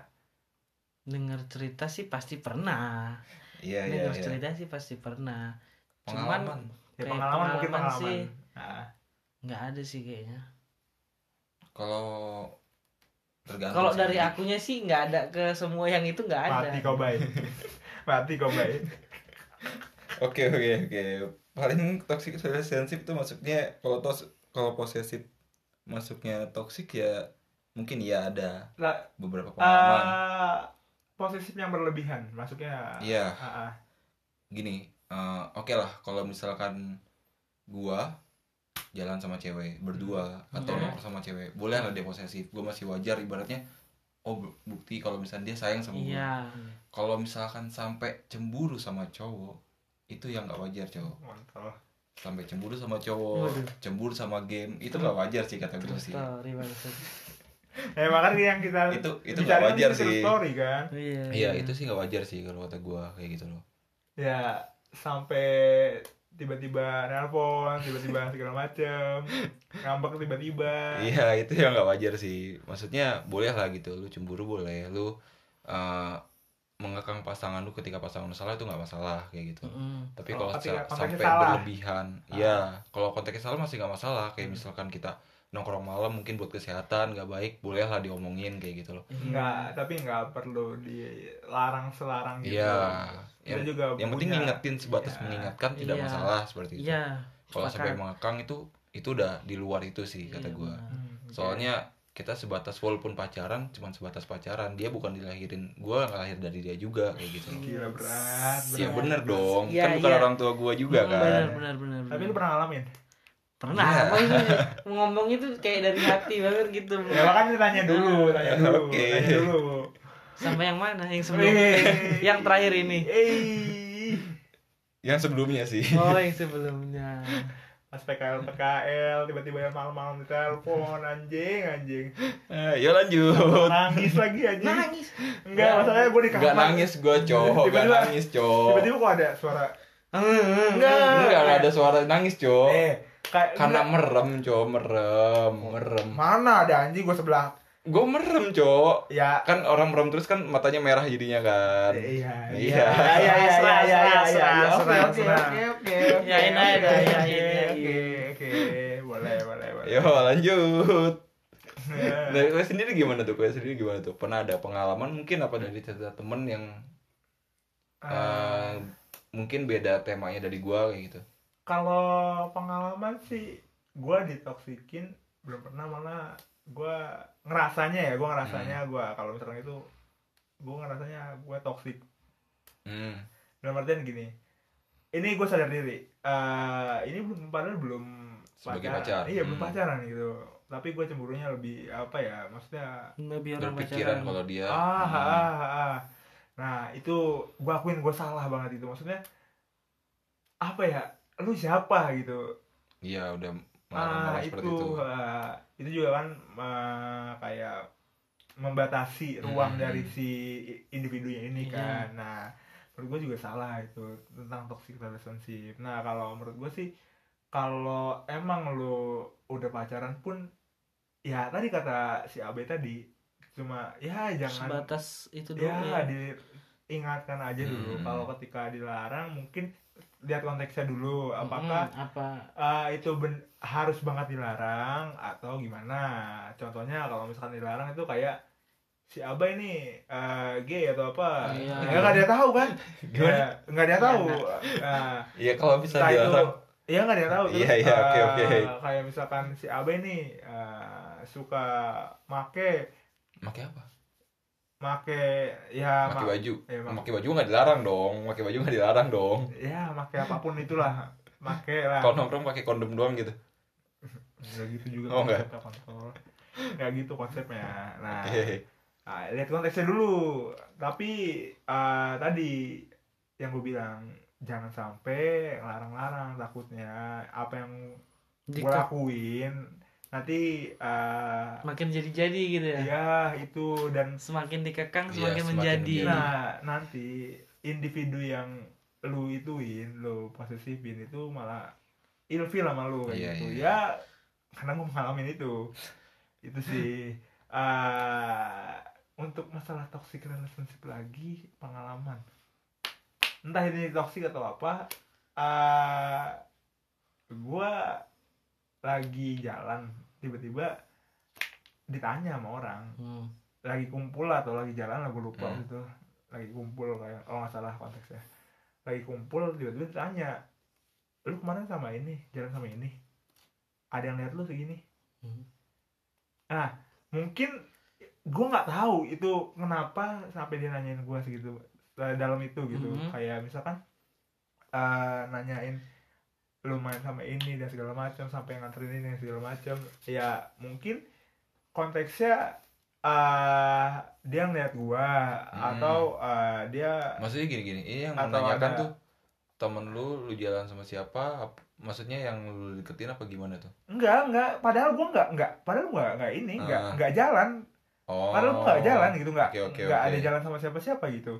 S1: Dengar cerita sih pasti pernah.
S2: iya
S1: Dengar
S2: iya iya
S1: cerita sih pasti pernah. Cuman-
S2: pengalaman
S3: ya,
S1: Kayak
S3: pengalaman, mungkin
S1: pengalaman
S3: pengalaman
S1: sih.
S3: Ah.
S1: Nggak ada sih kayaknya.
S2: kalau tergantung
S1: Kalau
S2: sih.
S1: dari akunya sih nggak ada ke semua yang itu nggak ada.
S3: Ah, mati kau baik mati kau baik
S2: Oke oke oke. Paling toxic relationship itu maksudnya kalau tos kalau posesif masuknya toxic ya mungkin ya ada
S3: lah
S2: beberapa pengalaman.
S3: eh posesif yang berlebihan
S1: eh,
S3: maksudnya
S2: Iya,
S3: ah, ah.
S2: gini. eh, oke lah kalau misalkan gua jalan sama cewek berdua atau
S1: Hmm.
S2: nongkrong sama cewek, boleh lah dia posesif. Gua masih wajar ibaratnya oh bu- bukti kalau misalnya dia sayang sama gua.
S1: Iya.
S2: Kalau misalkan sampai cemburu sama cowok itu yang nggak wajar cowok
S3: Kontol.
S2: sampai cemburu sama cowok
S1: Waduh.
S2: cemburu sama game itu nggak wajar sih kata gue
S1: Terus
S2: sih
S1: story maksud.
S3: Eh makanya yang kita
S2: itu itu nggak
S3: bicarain
S2: wajar
S3: kan true
S2: sih
S3: story kan.
S1: Iya.
S2: iya itu sih nggak wajar sih kalau kata gue kayak gitu loh
S3: Ya sampai tiba-tiba nelpon, tiba-tiba segala macem ngambek tiba-tiba.
S2: iya itu yang nggak wajar sih maksudnya boleh lah gitu lu cemburu boleh lu eh, mengekang pasangan lu ketika pasangan lu salah itu nggak masalah kayak gitu
S1: Mm-mm.
S2: tapi
S3: Kalau
S2: kalau
S3: ketika
S2: sa-
S3: konteksnya
S2: sampai
S3: salah. Ah.
S2: berlebihan ya kalau konteksnya salah masih nggak masalah kayak misalkan kita nongkrong malam mungkin buat kesehatan nggak baik boleh lah diomongin kayak gitu loh
S3: Nggak, tapi nggak perlu dilarang selarang gitu.
S2: iya yang,
S3: Kita juga
S2: yang penting
S3: punya-
S2: ngingetin sebatas
S3: Iya.
S2: mengingatkan tidak
S1: Iya.
S2: masalah seperti itu
S1: Iya.
S2: kalau sampai
S1: sepakat.
S2: mengekang itu itu udah di luar itu sih
S1: Iya,
S2: kata gua
S1: benar.
S3: Hmm,
S2: soalnya kita sebatas walaupun pacaran cuman sebatas pacaran dia bukan dilahirin gua nggak lahir dari dia juga kayak gitu loh.
S3: gila berat. berat.
S2: ya bener dong
S1: Iya,
S2: kan bukan
S1: iya.
S2: orang tua gua juga
S1: Hmm,
S2: kan
S1: Benar, benar, benar.
S3: Tapi
S1: benar.
S3: lu pernah ngalamin?
S1: pernah
S2: Iya.
S1: apa ini? ngomong itu kayak dari hati banget gitu.
S3: Ya makanya tanya dulu, tanya dulu,
S2: Oke.
S3: tanya dulu.
S1: Sama yang mana? Yang sebelum
S3: Eh.
S1: yang terakhir ini.
S3: Eh.
S2: yang sebelumnya sih
S1: Oh, yang sebelumnya.
S3: pas PKL PKL tiba-tiba yang malam-malam ditelepon anjing anjing
S2: Eh, ya lanjut
S3: nangis lagi anjing
S1: Nangis.
S3: enggak masalahnya gue di kamar
S2: nggak nangis gua cowok nggak
S3: Tiba-tiba-
S2: nangis cowok
S3: tiba-tiba kok ada suara
S2: enggak nggak ada suara nangis cowok
S3: eh kayak
S2: karena
S3: enggak.
S2: merem cowok merem merem
S3: mana ada anjing gue sebelah
S2: gua merem cowok
S3: ya
S2: kan orang merem terus kan matanya merah jadinya kan
S3: iya
S2: Iya.
S3: iya iya iya
S1: Serah,
S3: iya
S1: serah,
S3: iya
S1: serah,
S3: oke
S1: serah,
S3: oke
S1: serah.
S3: oke oke
S1: Yain
S3: oke,
S1: aja,
S3: oke,
S1: yain, yain.
S3: oke oke boleh boleh boleh
S2: yo lanjut dari gue sendiri gimana tuh gue sendiri gimana tuh pernah ada pengalaman mungkin apa dari cerita temen yang
S3: Eh,
S2: eh, mungkin beda temanya dari gue kayak gitu
S3: kalau pengalaman sih gue ditoksikin belum pernah malah gue ngerasanya ya gue ngerasanya
S2: Hmm.
S3: gue kalau misalnya itu gue ngerasanya gue toksik
S2: hmm.
S3: dalam artian gini ini gue sadar diri Eh, ini belum padahal belum
S2: Sebagai pacar.
S3: iya belum
S2: Hmm.
S3: pacaran gitu tapi gue cemburunya lebih apa ya maksudnya
S1: Lebih orang pacaran.
S2: berpikiran kalau dia
S3: ah,
S2: hmm,
S3: ah, ah, ah. nah itu gue akuin gue salah banget itu maksudnya apa ya lu siapa gitu
S2: iya udah
S3: ah
S2: marah-marah
S3: itu,
S2: seperti itu
S3: ah, itu juga kan ah, kayak membatasi ruang
S2: Hmm.
S3: dari si individunya ini
S1: Iya.
S3: kan nah menurut gue juga salah itu tentang toxic relationship nah kalau menurut gue sih kalau emang lo udah pacaran pun ya tadi kata si Abe tadi cuma ya jangan
S1: Sebatas itu dulu ya.
S3: ya diingatkan aja dulu
S2: Hmm.
S3: kalau ketika dilarang mungkin lihat konteksnya dulu apakah
S1: Mm-mm, apa
S3: Eh, itu ben- harus banget dilarang atau gimana? Contohnya kalau misalkan dilarang itu kayak si Aba ini eh, gay atau apa?
S1: Iya.
S3: Nggak nggak ada yang tahu kan?
S2: gimana
S3: Nggak- Nggak ada yang tahu. Nah,
S2: ya kalau bisa
S3: entah itu
S2: dilarang
S3: Iya nggak ada yang tahu. Terus,
S2: Iya, iya, oke,
S3: eh,
S2: oke.
S3: Kayak misalkan si Aba ini eh, suka make
S2: pakai apa
S3: make ya
S2: pakai
S3: ma-
S2: baju
S3: ya, ma-
S2: pakai baju nggak dilarang dong pakai baju nggak dilarang dong
S3: ya make apapun itulah. Make lah.
S2: kalau nongkrong pakai kondom doang gitu
S3: nggak gitu juga
S2: Oh, nggak?
S3: konsepnya kontol nggak gitu konsepnya nah
S2: Oke.
S3: ah, lihat konteksnya dulu tapi ah, tadi yang gue bilang jangan sampai larang-larang takutnya apa yang gue
S1: Jika
S3: lakuin nanti ah,
S1: makin jadi-jadi gitu ya.
S3: ya itu dan
S1: Semakin dikekang
S2: Iya,
S1: semakin
S2: semakin
S1: menjadi.
S2: menjadi.
S3: Nah, nanti individu yang lu ituin, lu posesifin itu malah ilfil sama lu kayak
S2: Iya,
S3: gitu.
S2: iya.
S3: Ya karena gue mengalami itu. Itu sih eh untuk masalah toxic relationship lagi pengalaman. Entah ini toxic atau apa, eh gua lagi jalan tiba-tiba ditanya sama orang
S1: Hmm.
S3: lagi kumpul lah atau lagi jalan lah gue lupa
S2: Hmm.
S3: gitu lagi kumpul kayak kalau nggak salah konteksnya lagi kumpul tiba-tiba ditanya lu kemarin sama ini jalan sama ini ada yang lihat lu segini
S1: Hmm.
S3: nah mungkin gue nggak tahu itu kenapa sampai dia nanyain gue segitu eh, dalam itu gitu
S1: Mhm.
S3: kayak misalkan eh, nanyain lu main sama ini dan segala macam sampai nganterin ini dan segala macam ya mungkin konteksnya eh dia ngeliat gua
S2: Hmm.
S3: atau eh, dia
S2: Maksudnya gini-gini, ini yang
S3: Atau
S2: menanyakan
S3: ada-
S2: tuh temen lu, lu jalan sama siapa? ap- Maksudnya yang lu deketin apa gimana tuh?
S3: enggak enggak padahal gua enggak enggak padahal gua enggak, enggak ini enggak
S2: Ah.
S3: enggak jalan
S2: Oh.
S3: padahal gua enggak jalan gitu enggak
S2: Oke, oke,
S3: enggak
S2: oke.
S3: ada jalan sama siapa-siapa gitu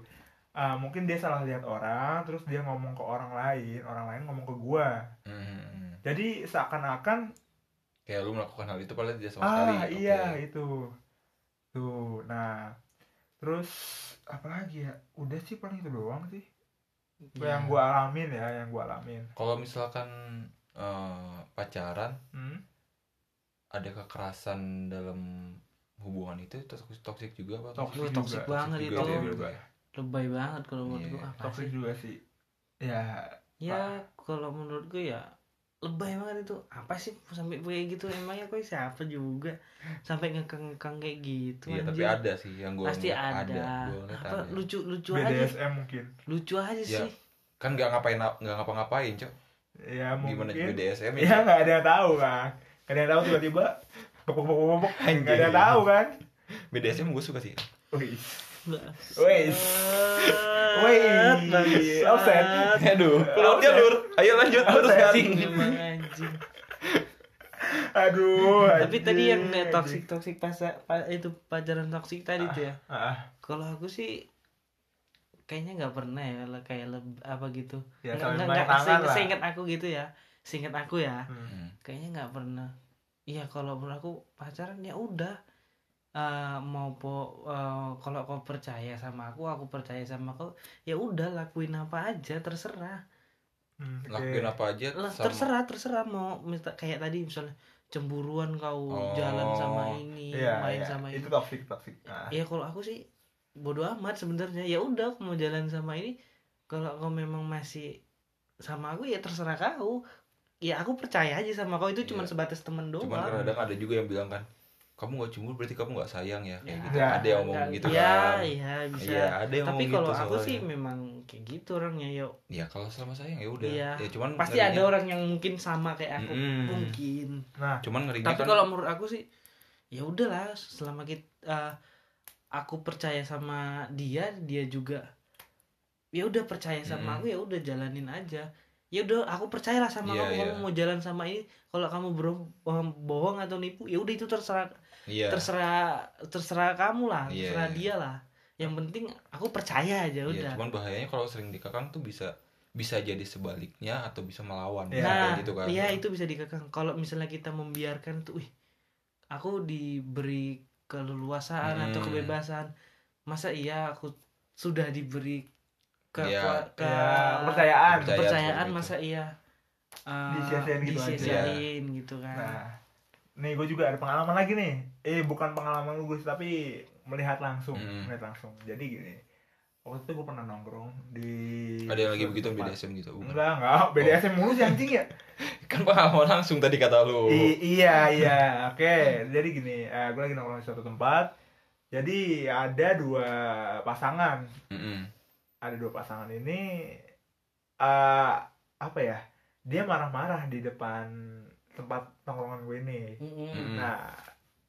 S3: Eh, mungkin dia salah lihat orang terus dia ngomong ke orang lain orang lain ngomong ke gua
S2: Hmm.
S3: jadi seakan-akan
S2: Kayak lu melakukan hal itu padahal tidak sama sekali.
S3: ah
S2: Oke.
S3: iya itu tuh nah terus apa lagi ya udah sih paling itu doang sih yang
S1: Ya.
S3: gua alamin ya yang gua alamin
S2: Kalau misalkan eh, pacaran
S3: hmm?
S2: ada kekerasan dalam hubungan itu toksik toksik juga apa?
S1: Lu
S3: Toksik
S1: toksik
S3: juga.
S1: banget
S2: Toksik
S1: itu.
S2: juga,
S3: Toksik
S2: juga.
S1: Lebay banget kalau menurut
S2: Iya,
S1: gua. Apa
S3: toxic
S1: sih?
S3: juga sih ya
S1: Ya kalau menurut gua ya lebay banget itu. Apa sih sampai kayak gitu emangnya kok siapa juga sampai ngekang-ngekang kayak gitu
S2: Iya, tapi
S1: anjir.
S2: ada sih yang gue
S1: Pasti ada.
S2: Gua ngeliat
S1: Apa,
S2: ada.
S1: lucu lucu aja.
S3: BDSM mungkin
S1: Lucu aja
S2: Ya,
S1: sih.
S2: Kan nggak ngapain nggak ngapa-ngapain, Cok.
S3: ya
S2: Gimana
S3: mungkin
S2: juga DSM
S3: ya
S2: ya?
S3: nggak ada yang tahu kan nggak ada yang tahu tiba-tiba bobok bobok bobok
S2: Anjing.
S3: nggak ada yang tahu kan
S2: BDSM gue suka sih.
S3: wih
S1: Wait.
S3: Wait. Offset.
S2: Aduh,
S3: Offset.
S2: Ayo lanjut terus kan.
S3: Offset.
S1: Memang anjing.
S3: aduh
S1: Tapi tadi yang kayak
S3: kayak
S1: toxic toxic pas pa- itu pacaran toxic tadi tuh ya.
S3: Ah,
S1: Kalau aku sih kayaknya nggak pernah ya le- kayak leb- apa gitu.
S3: Ya,
S1: Nggak-
S3: saling
S1: nggak-
S3: main
S1: nggak,
S3: tangan
S1: seinget-
S3: lah. Hmm,
S1: seinget aku gitu ya. Seinget aku ya.
S2: Hmm.
S1: Kayaknya nggak pernah. Iya kalau menurut aku pacaran ya udah Eh, mau po eh, kalau kau percaya sama aku, aku percaya sama kau, ya udah lakuin apa aja terserah.
S3: hmm,
S2: Lakuin apa aja
S1: lah
S2: sama-
S1: terserah terserah mau minta kayak tadi misalnya cemburuan kau
S2: Oh.
S1: jalan sama ini main sama
S3: Iya,
S1: ini
S3: itu toxic toxic Ah.
S1: ya kalau aku sih bodoh amat sebenarnya ya udah aku mau jalan sama ini kalau kau memang masih sama aku ya terserah kau ya aku percaya aja sama kau itu cuma
S2: Iya.
S1: sebatas temen doang
S2: Cuman kadang ada juga yang bilang kan, kamu nggak cemburu berarti kamu nggak sayang ya. Kayak gitu.
S3: Ya,
S2: Ada yang ngomong
S1: nggak-
S2: gitu
S1: ya,
S2: kan.
S1: ya bisa
S2: Iya, ada yang
S1: tapi
S2: ngomong
S1: kalau
S2: gitu
S1: aku
S2: soalnya.
S1: sih memang kayak gitu orangnya yuk
S2: ya kalau selama sayang ya udah.
S1: Iya.
S2: Ya cuman
S1: pasti ada orang yang mungkin sama kayak aku
S2: Mm-mm.
S1: mungkin
S3: nah
S2: Cuman ngerinya
S1: tapi
S2: kan
S1: kalau menurut aku sih ya udahlah selama kita aku percaya sama dia dia juga ya udah percaya sama
S2: Mm.
S1: aku ya udah jalanin aja ya udah aku percayalah sama
S2: Iya,
S1: kamu
S2: iya.
S1: kamu mau jalan sama ini kalau kamu bro- bohong, bohong atau nipu ya udah itu terserah
S2: iya.
S1: terserah terserah kamu lah
S2: Iya,
S1: terserah
S2: iya.
S1: dia lah yang penting aku percaya aja ya
S2: Iya,
S1: udah
S2: cuman bahayanya kalau sering dikekang tuh bisa bisa jadi sebaliknya atau bisa melawan Kayak
S3: Iya.
S1: nah
S2: gitu kan.
S1: iya itu bisa dikekang kalau misalnya kita membiarkan tuh wih aku diberi keleluasaan atau
S2: Hmm.
S1: kebebasan masa iya aku sudah diberi ke,
S2: Iya.
S1: ke-
S3: ya, kepercayaan
S2: Kepercayaan.
S1: kepercayaan,
S2: seperti itu.
S1: masa iya eh,
S3: Disia-siain gitu aja.
S1: disia-siain gitu kan
S3: Nah, nih gue juga ada pengalaman lagi nih. Eh bukan pengalaman lu Gus, tapi melihat langsung,
S2: Mm.
S3: melihat langsung. Jadi gini, waktu itu gue pernah nongkrong di.
S2: Ada yang lagi
S3: suatu
S2: begitu
S3: tempat.
S2: BDSM gitu. Bukan.
S3: Enggak enggak, BDSM mulu sih anjing ya.
S2: Kan pengalaman langsung tadi kata lu.
S3: I- iya iya, oke. Jadi gini, eh, gue lagi nongkrong di suatu tempat. Jadi ada dua pasangan,
S2: Mm-mm.
S3: ada dua pasangan ini, eh apa ya? Dia marah-marah di depan tempat tongkrongan gue nih
S1: Mm-mm.
S2: Mm.
S3: nah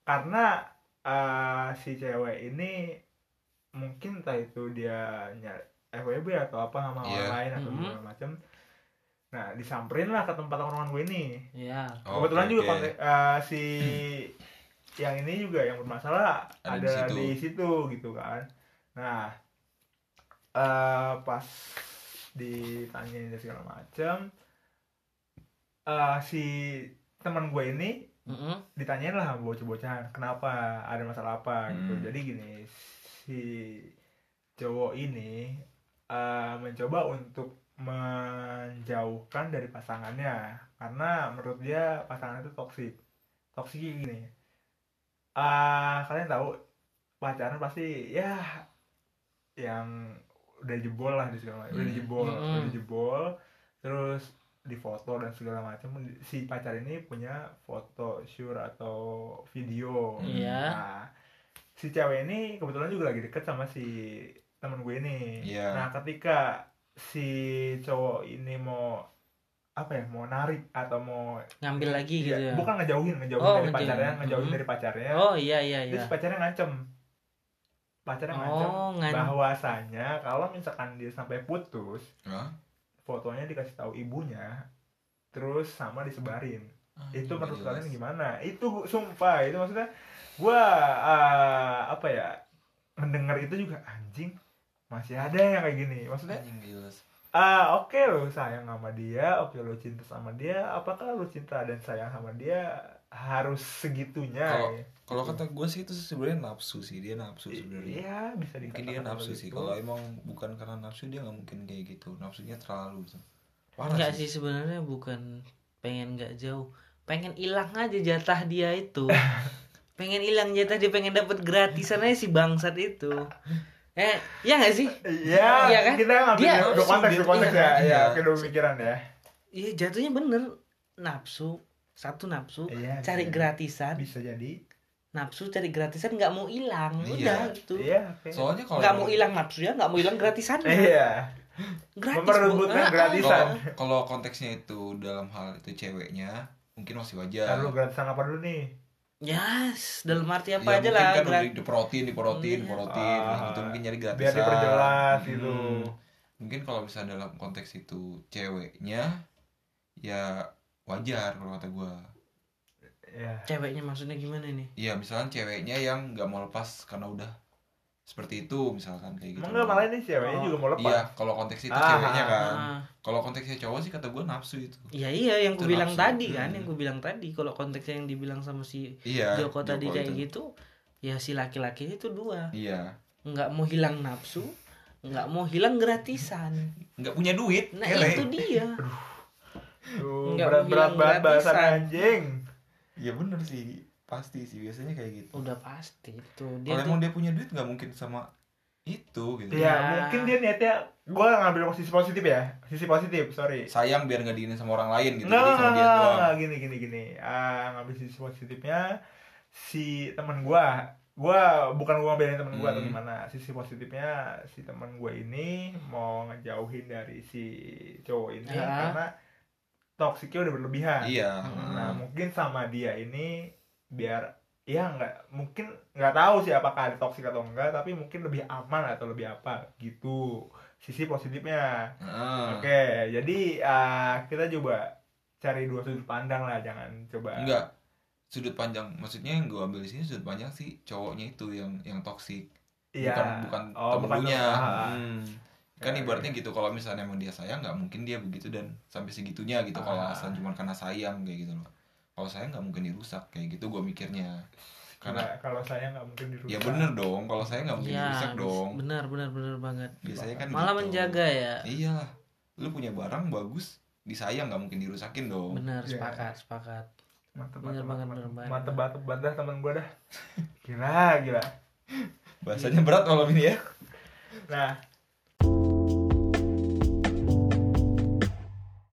S3: karena eh, si cewek ini mungkin entah itu dia nyari FWB atau apa sama orang
S2: Iya.
S3: lain atau
S1: Mhm.
S3: segala macam nah disamperin lah ke tempat tongkrongan gue ini
S1: Iya.
S2: Oh,
S3: kebetulan
S2: oke,
S3: juga
S2: oke.
S3: kontak- eh, si yang ini juga yang bermasalah
S2: Ada
S3: ada,
S2: di situ.
S3: di situ gitu kan nah eh pas ditanyain dan segala macam eh si teman gue ini
S1: Mm-mm.
S3: ditanyain lah sama bocah-bocah kenapa ada masalah apa gitu
S2: Hmm.
S3: jadi gini si cowok ini eh, mencoba untuk menjauhkan dari pasangannya karena menurut dia pasangannya itu toksik toksik kayak gini Ah, kalian tahu pacaran pasti ya yang udah jebol lah di segala macam udah
S2: Hmm.
S3: jebol
S1: Hmm.
S3: udah jebol terus di foto dan segala macam si pacar ini punya foto sure atau video
S1: Iya.
S3: nah si cewek ini kebetulan juga lagi deket sama si temen gue ini
S2: Iya.
S3: nah ketika si cowok ini mau apa ya mau narik atau mau
S1: Ngambil lagi
S3: Iya,
S1: gitu ya.
S3: bukan ngejauhin ngejauhin
S1: Oh,
S3: dari
S1: ngejauhin.
S3: pacarnya ngejauhin
S1: Mhm.
S3: dari pacarnya
S1: Oh iya iya iya.
S3: terus pacarnya ngancem pacarnya ngancem
S1: Oh, ngan-
S3: bahwasannya kalau misalkan dia sampai putus
S2: Hah?
S3: fotonya dikasih tahu ibunya terus sama disebarin
S2: Ah,
S3: itu
S2: nggak
S3: menurut kalian
S2: jelas.
S3: gimana itu gua- sumpah itu maksudnya gua eh, apa ya mendengar itu juga anjing masih ada yang kayak gini maksudnya
S2: Anjing, nggak jelas.
S3: ah oke lo sayang sama dia oke lo cinta sama dia apakah lo cinta dan sayang sama dia harus segitunya
S2: Kalau-
S3: ya?
S2: Kalau kata gue sih itu sebenarnya nafsu sih dia nafsu sebenarnya.
S3: Iya bisa
S2: Mungkin
S3: dikatakan
S2: dia nafsu
S3: seperti
S2: sih.
S3: itu.
S2: Kalau emang bukan karena nafsu dia nggak mungkin kayak gitu. Nafsunya terlalu. Gitu. Parah
S1: Enggak sih
S2: sih.
S1: sebenarnya bukan pengen nggak jauh, pengen hilang aja jatah dia itu. pengen hilang jatah dia pengen dapat gratisan aja si bangsat itu. Eh, ya nggak sih?
S3: Iya,
S1: Iya kan?
S3: kita ngambil
S1: Dia-
S3: dua konteks, dua konteks ya,
S2: Iya.
S3: ya, kedua pikiran ya.
S1: Iya jatuhnya bener nafsu satu nafsu
S2: Eh,
S3: Iya,
S1: cari
S3: bisa.
S1: gratisan
S3: Bisa jadi.
S1: nafsu cari gratisan nggak mau hilang
S2: Iya.
S1: udah gitu
S3: Iya, oke.
S2: Soalnya kalau
S1: nggak mau hilang nafsu ya nggak mau hilang gratisan
S3: Iya.
S1: gratis
S3: Memperebutkan
S1: Bu.
S3: gratisan.
S1: Ah, ah.
S2: Kalau- Kalau konteksnya itu dalam hal itu ceweknya mungkin masih
S3: Ntar
S2: wajar.
S3: Kan lu gratisan apa dulu nih?
S1: yes dalam arti apa aja
S2: ya, mungkin
S1: lah
S2: kan udah
S1: gratis
S2: diporotin, diporotin,
S1: Iya.
S2: diporotin,
S3: Ah,
S2: gitu mungkin nyari gratisan.
S3: Biar diperjelas
S2: Hmm.
S3: gitu.
S2: Mungkin kalau misalnya dalam konteks itu ceweknya ya wajar kalau kata gua.
S3: Iya.
S1: ceweknya maksudnya gimana nih
S2: Iya, misalnya ceweknya yang nggak mau lepas karena udah seperti itu misalkan kayak gitu.
S3: Emang nggak malah ini ceweknya
S1: Oh.
S3: juga mau lepas.
S2: Iya, kalau konteks itu
S3: Ah,
S2: ceweknya kan.
S1: Ah,
S2: Kalau konteksnya cowok sih kata gua nafsu itu.
S1: iya iya yang
S2: Itu
S1: ku bilang
S2: nafsu.
S1: tadi kan
S2: Hmm.
S1: yang ku bilang tadi kalau konteksnya yang dibilang sama si
S2: Iya.
S1: Joko tadi kayak
S2: itu.
S1: gitu ya si laki-laki itu dua
S2: Iya.
S1: nggak mau hilang nafsu nggak mau hilang gratisan
S2: Nggak punya duit. iya
S1: nah
S2: kere.
S1: itu dia
S3: Tuh,
S1: Nggak
S3: berat-berat
S1: bilang
S3: bahan bahasan
S1: gratisan.
S3: anjing.
S2: Ya bener sih, pasti sih biasanya kayak gitu.
S1: udah pasti itu dia
S2: Kalau
S1: tuh
S2: emang dia punya duit nggak mungkin sama itu gitu.
S3: Iya,
S1: Ya.
S3: mungkin dia niatnya gua ngambil sisi positif ya. Sisi positif, sorry.
S2: Sayang biar nggak diinin sama orang lain gitu.
S3: Nggak,
S2: Jadi sama dia doang.
S3: Nah, gini gini gini. Ah, ngambil sisi positifnya si teman gua. Gua bukan gua ngambilin teman gua atau
S2: Hmm.
S3: gimana. Sisi positifnya si teman gua ini mau ngejauhin dari si cowok ini
S1: Ya.
S3: karena toksiknya udah berlebihan.
S2: Iya.
S1: Hmm.
S3: Nah, mungkin sama dia ini biar ya nggak mungkin nggak tahu sih apakah ada toksik atau enggak tapi mungkin lebih aman atau lebih apa gitu sisi positifnya
S2: Heeh.
S3: Oke, jadi eh, kita coba cari dua sudut pandang lah, jangan coba.
S2: Enggak. Sudut panjang, maksudnya yang gue ambil di sini sudut panjang sih cowoknya itu yang yang toksik,
S3: Iya.
S2: bukan bukan
S3: Oh, bukan
S2: temennya.
S3: Ah, ah.
S2: Hmm. Kan
S3: Ya,
S2: ibaratnya gitu kalau misalnya emang dia sayang nggak mungkin dia begitu dan sampai segitunya gitu kalau
S3: Ah.
S2: alasan cuma karena sayang kayak gitu loh. Kalau sayang nggak mungkin dirusak kayak gitu gue mikirnya. Karena
S3: Coba, kalau saya nggak mungkin dirusak.
S2: Ya bener dong, kalau saya nggak mungkin dirusak dong.
S1: ya, benar benar benar banget
S2: Biasanya kan
S1: Iya, malah
S2: gitu.
S1: menjaga ya
S2: Iya, lu punya barang bagus, disayang nggak mungkin dirusakin dong.
S1: benar
S3: Iya.
S1: sepakat sepakat
S3: Mantep,
S1: Bener banget,
S3: mantep, mantep,
S1: bener banget.
S3: mantep, mantep, mantep dah teman gue dah. Gila, gila.
S2: Bahasanya berat malam ini ya.
S3: Nah,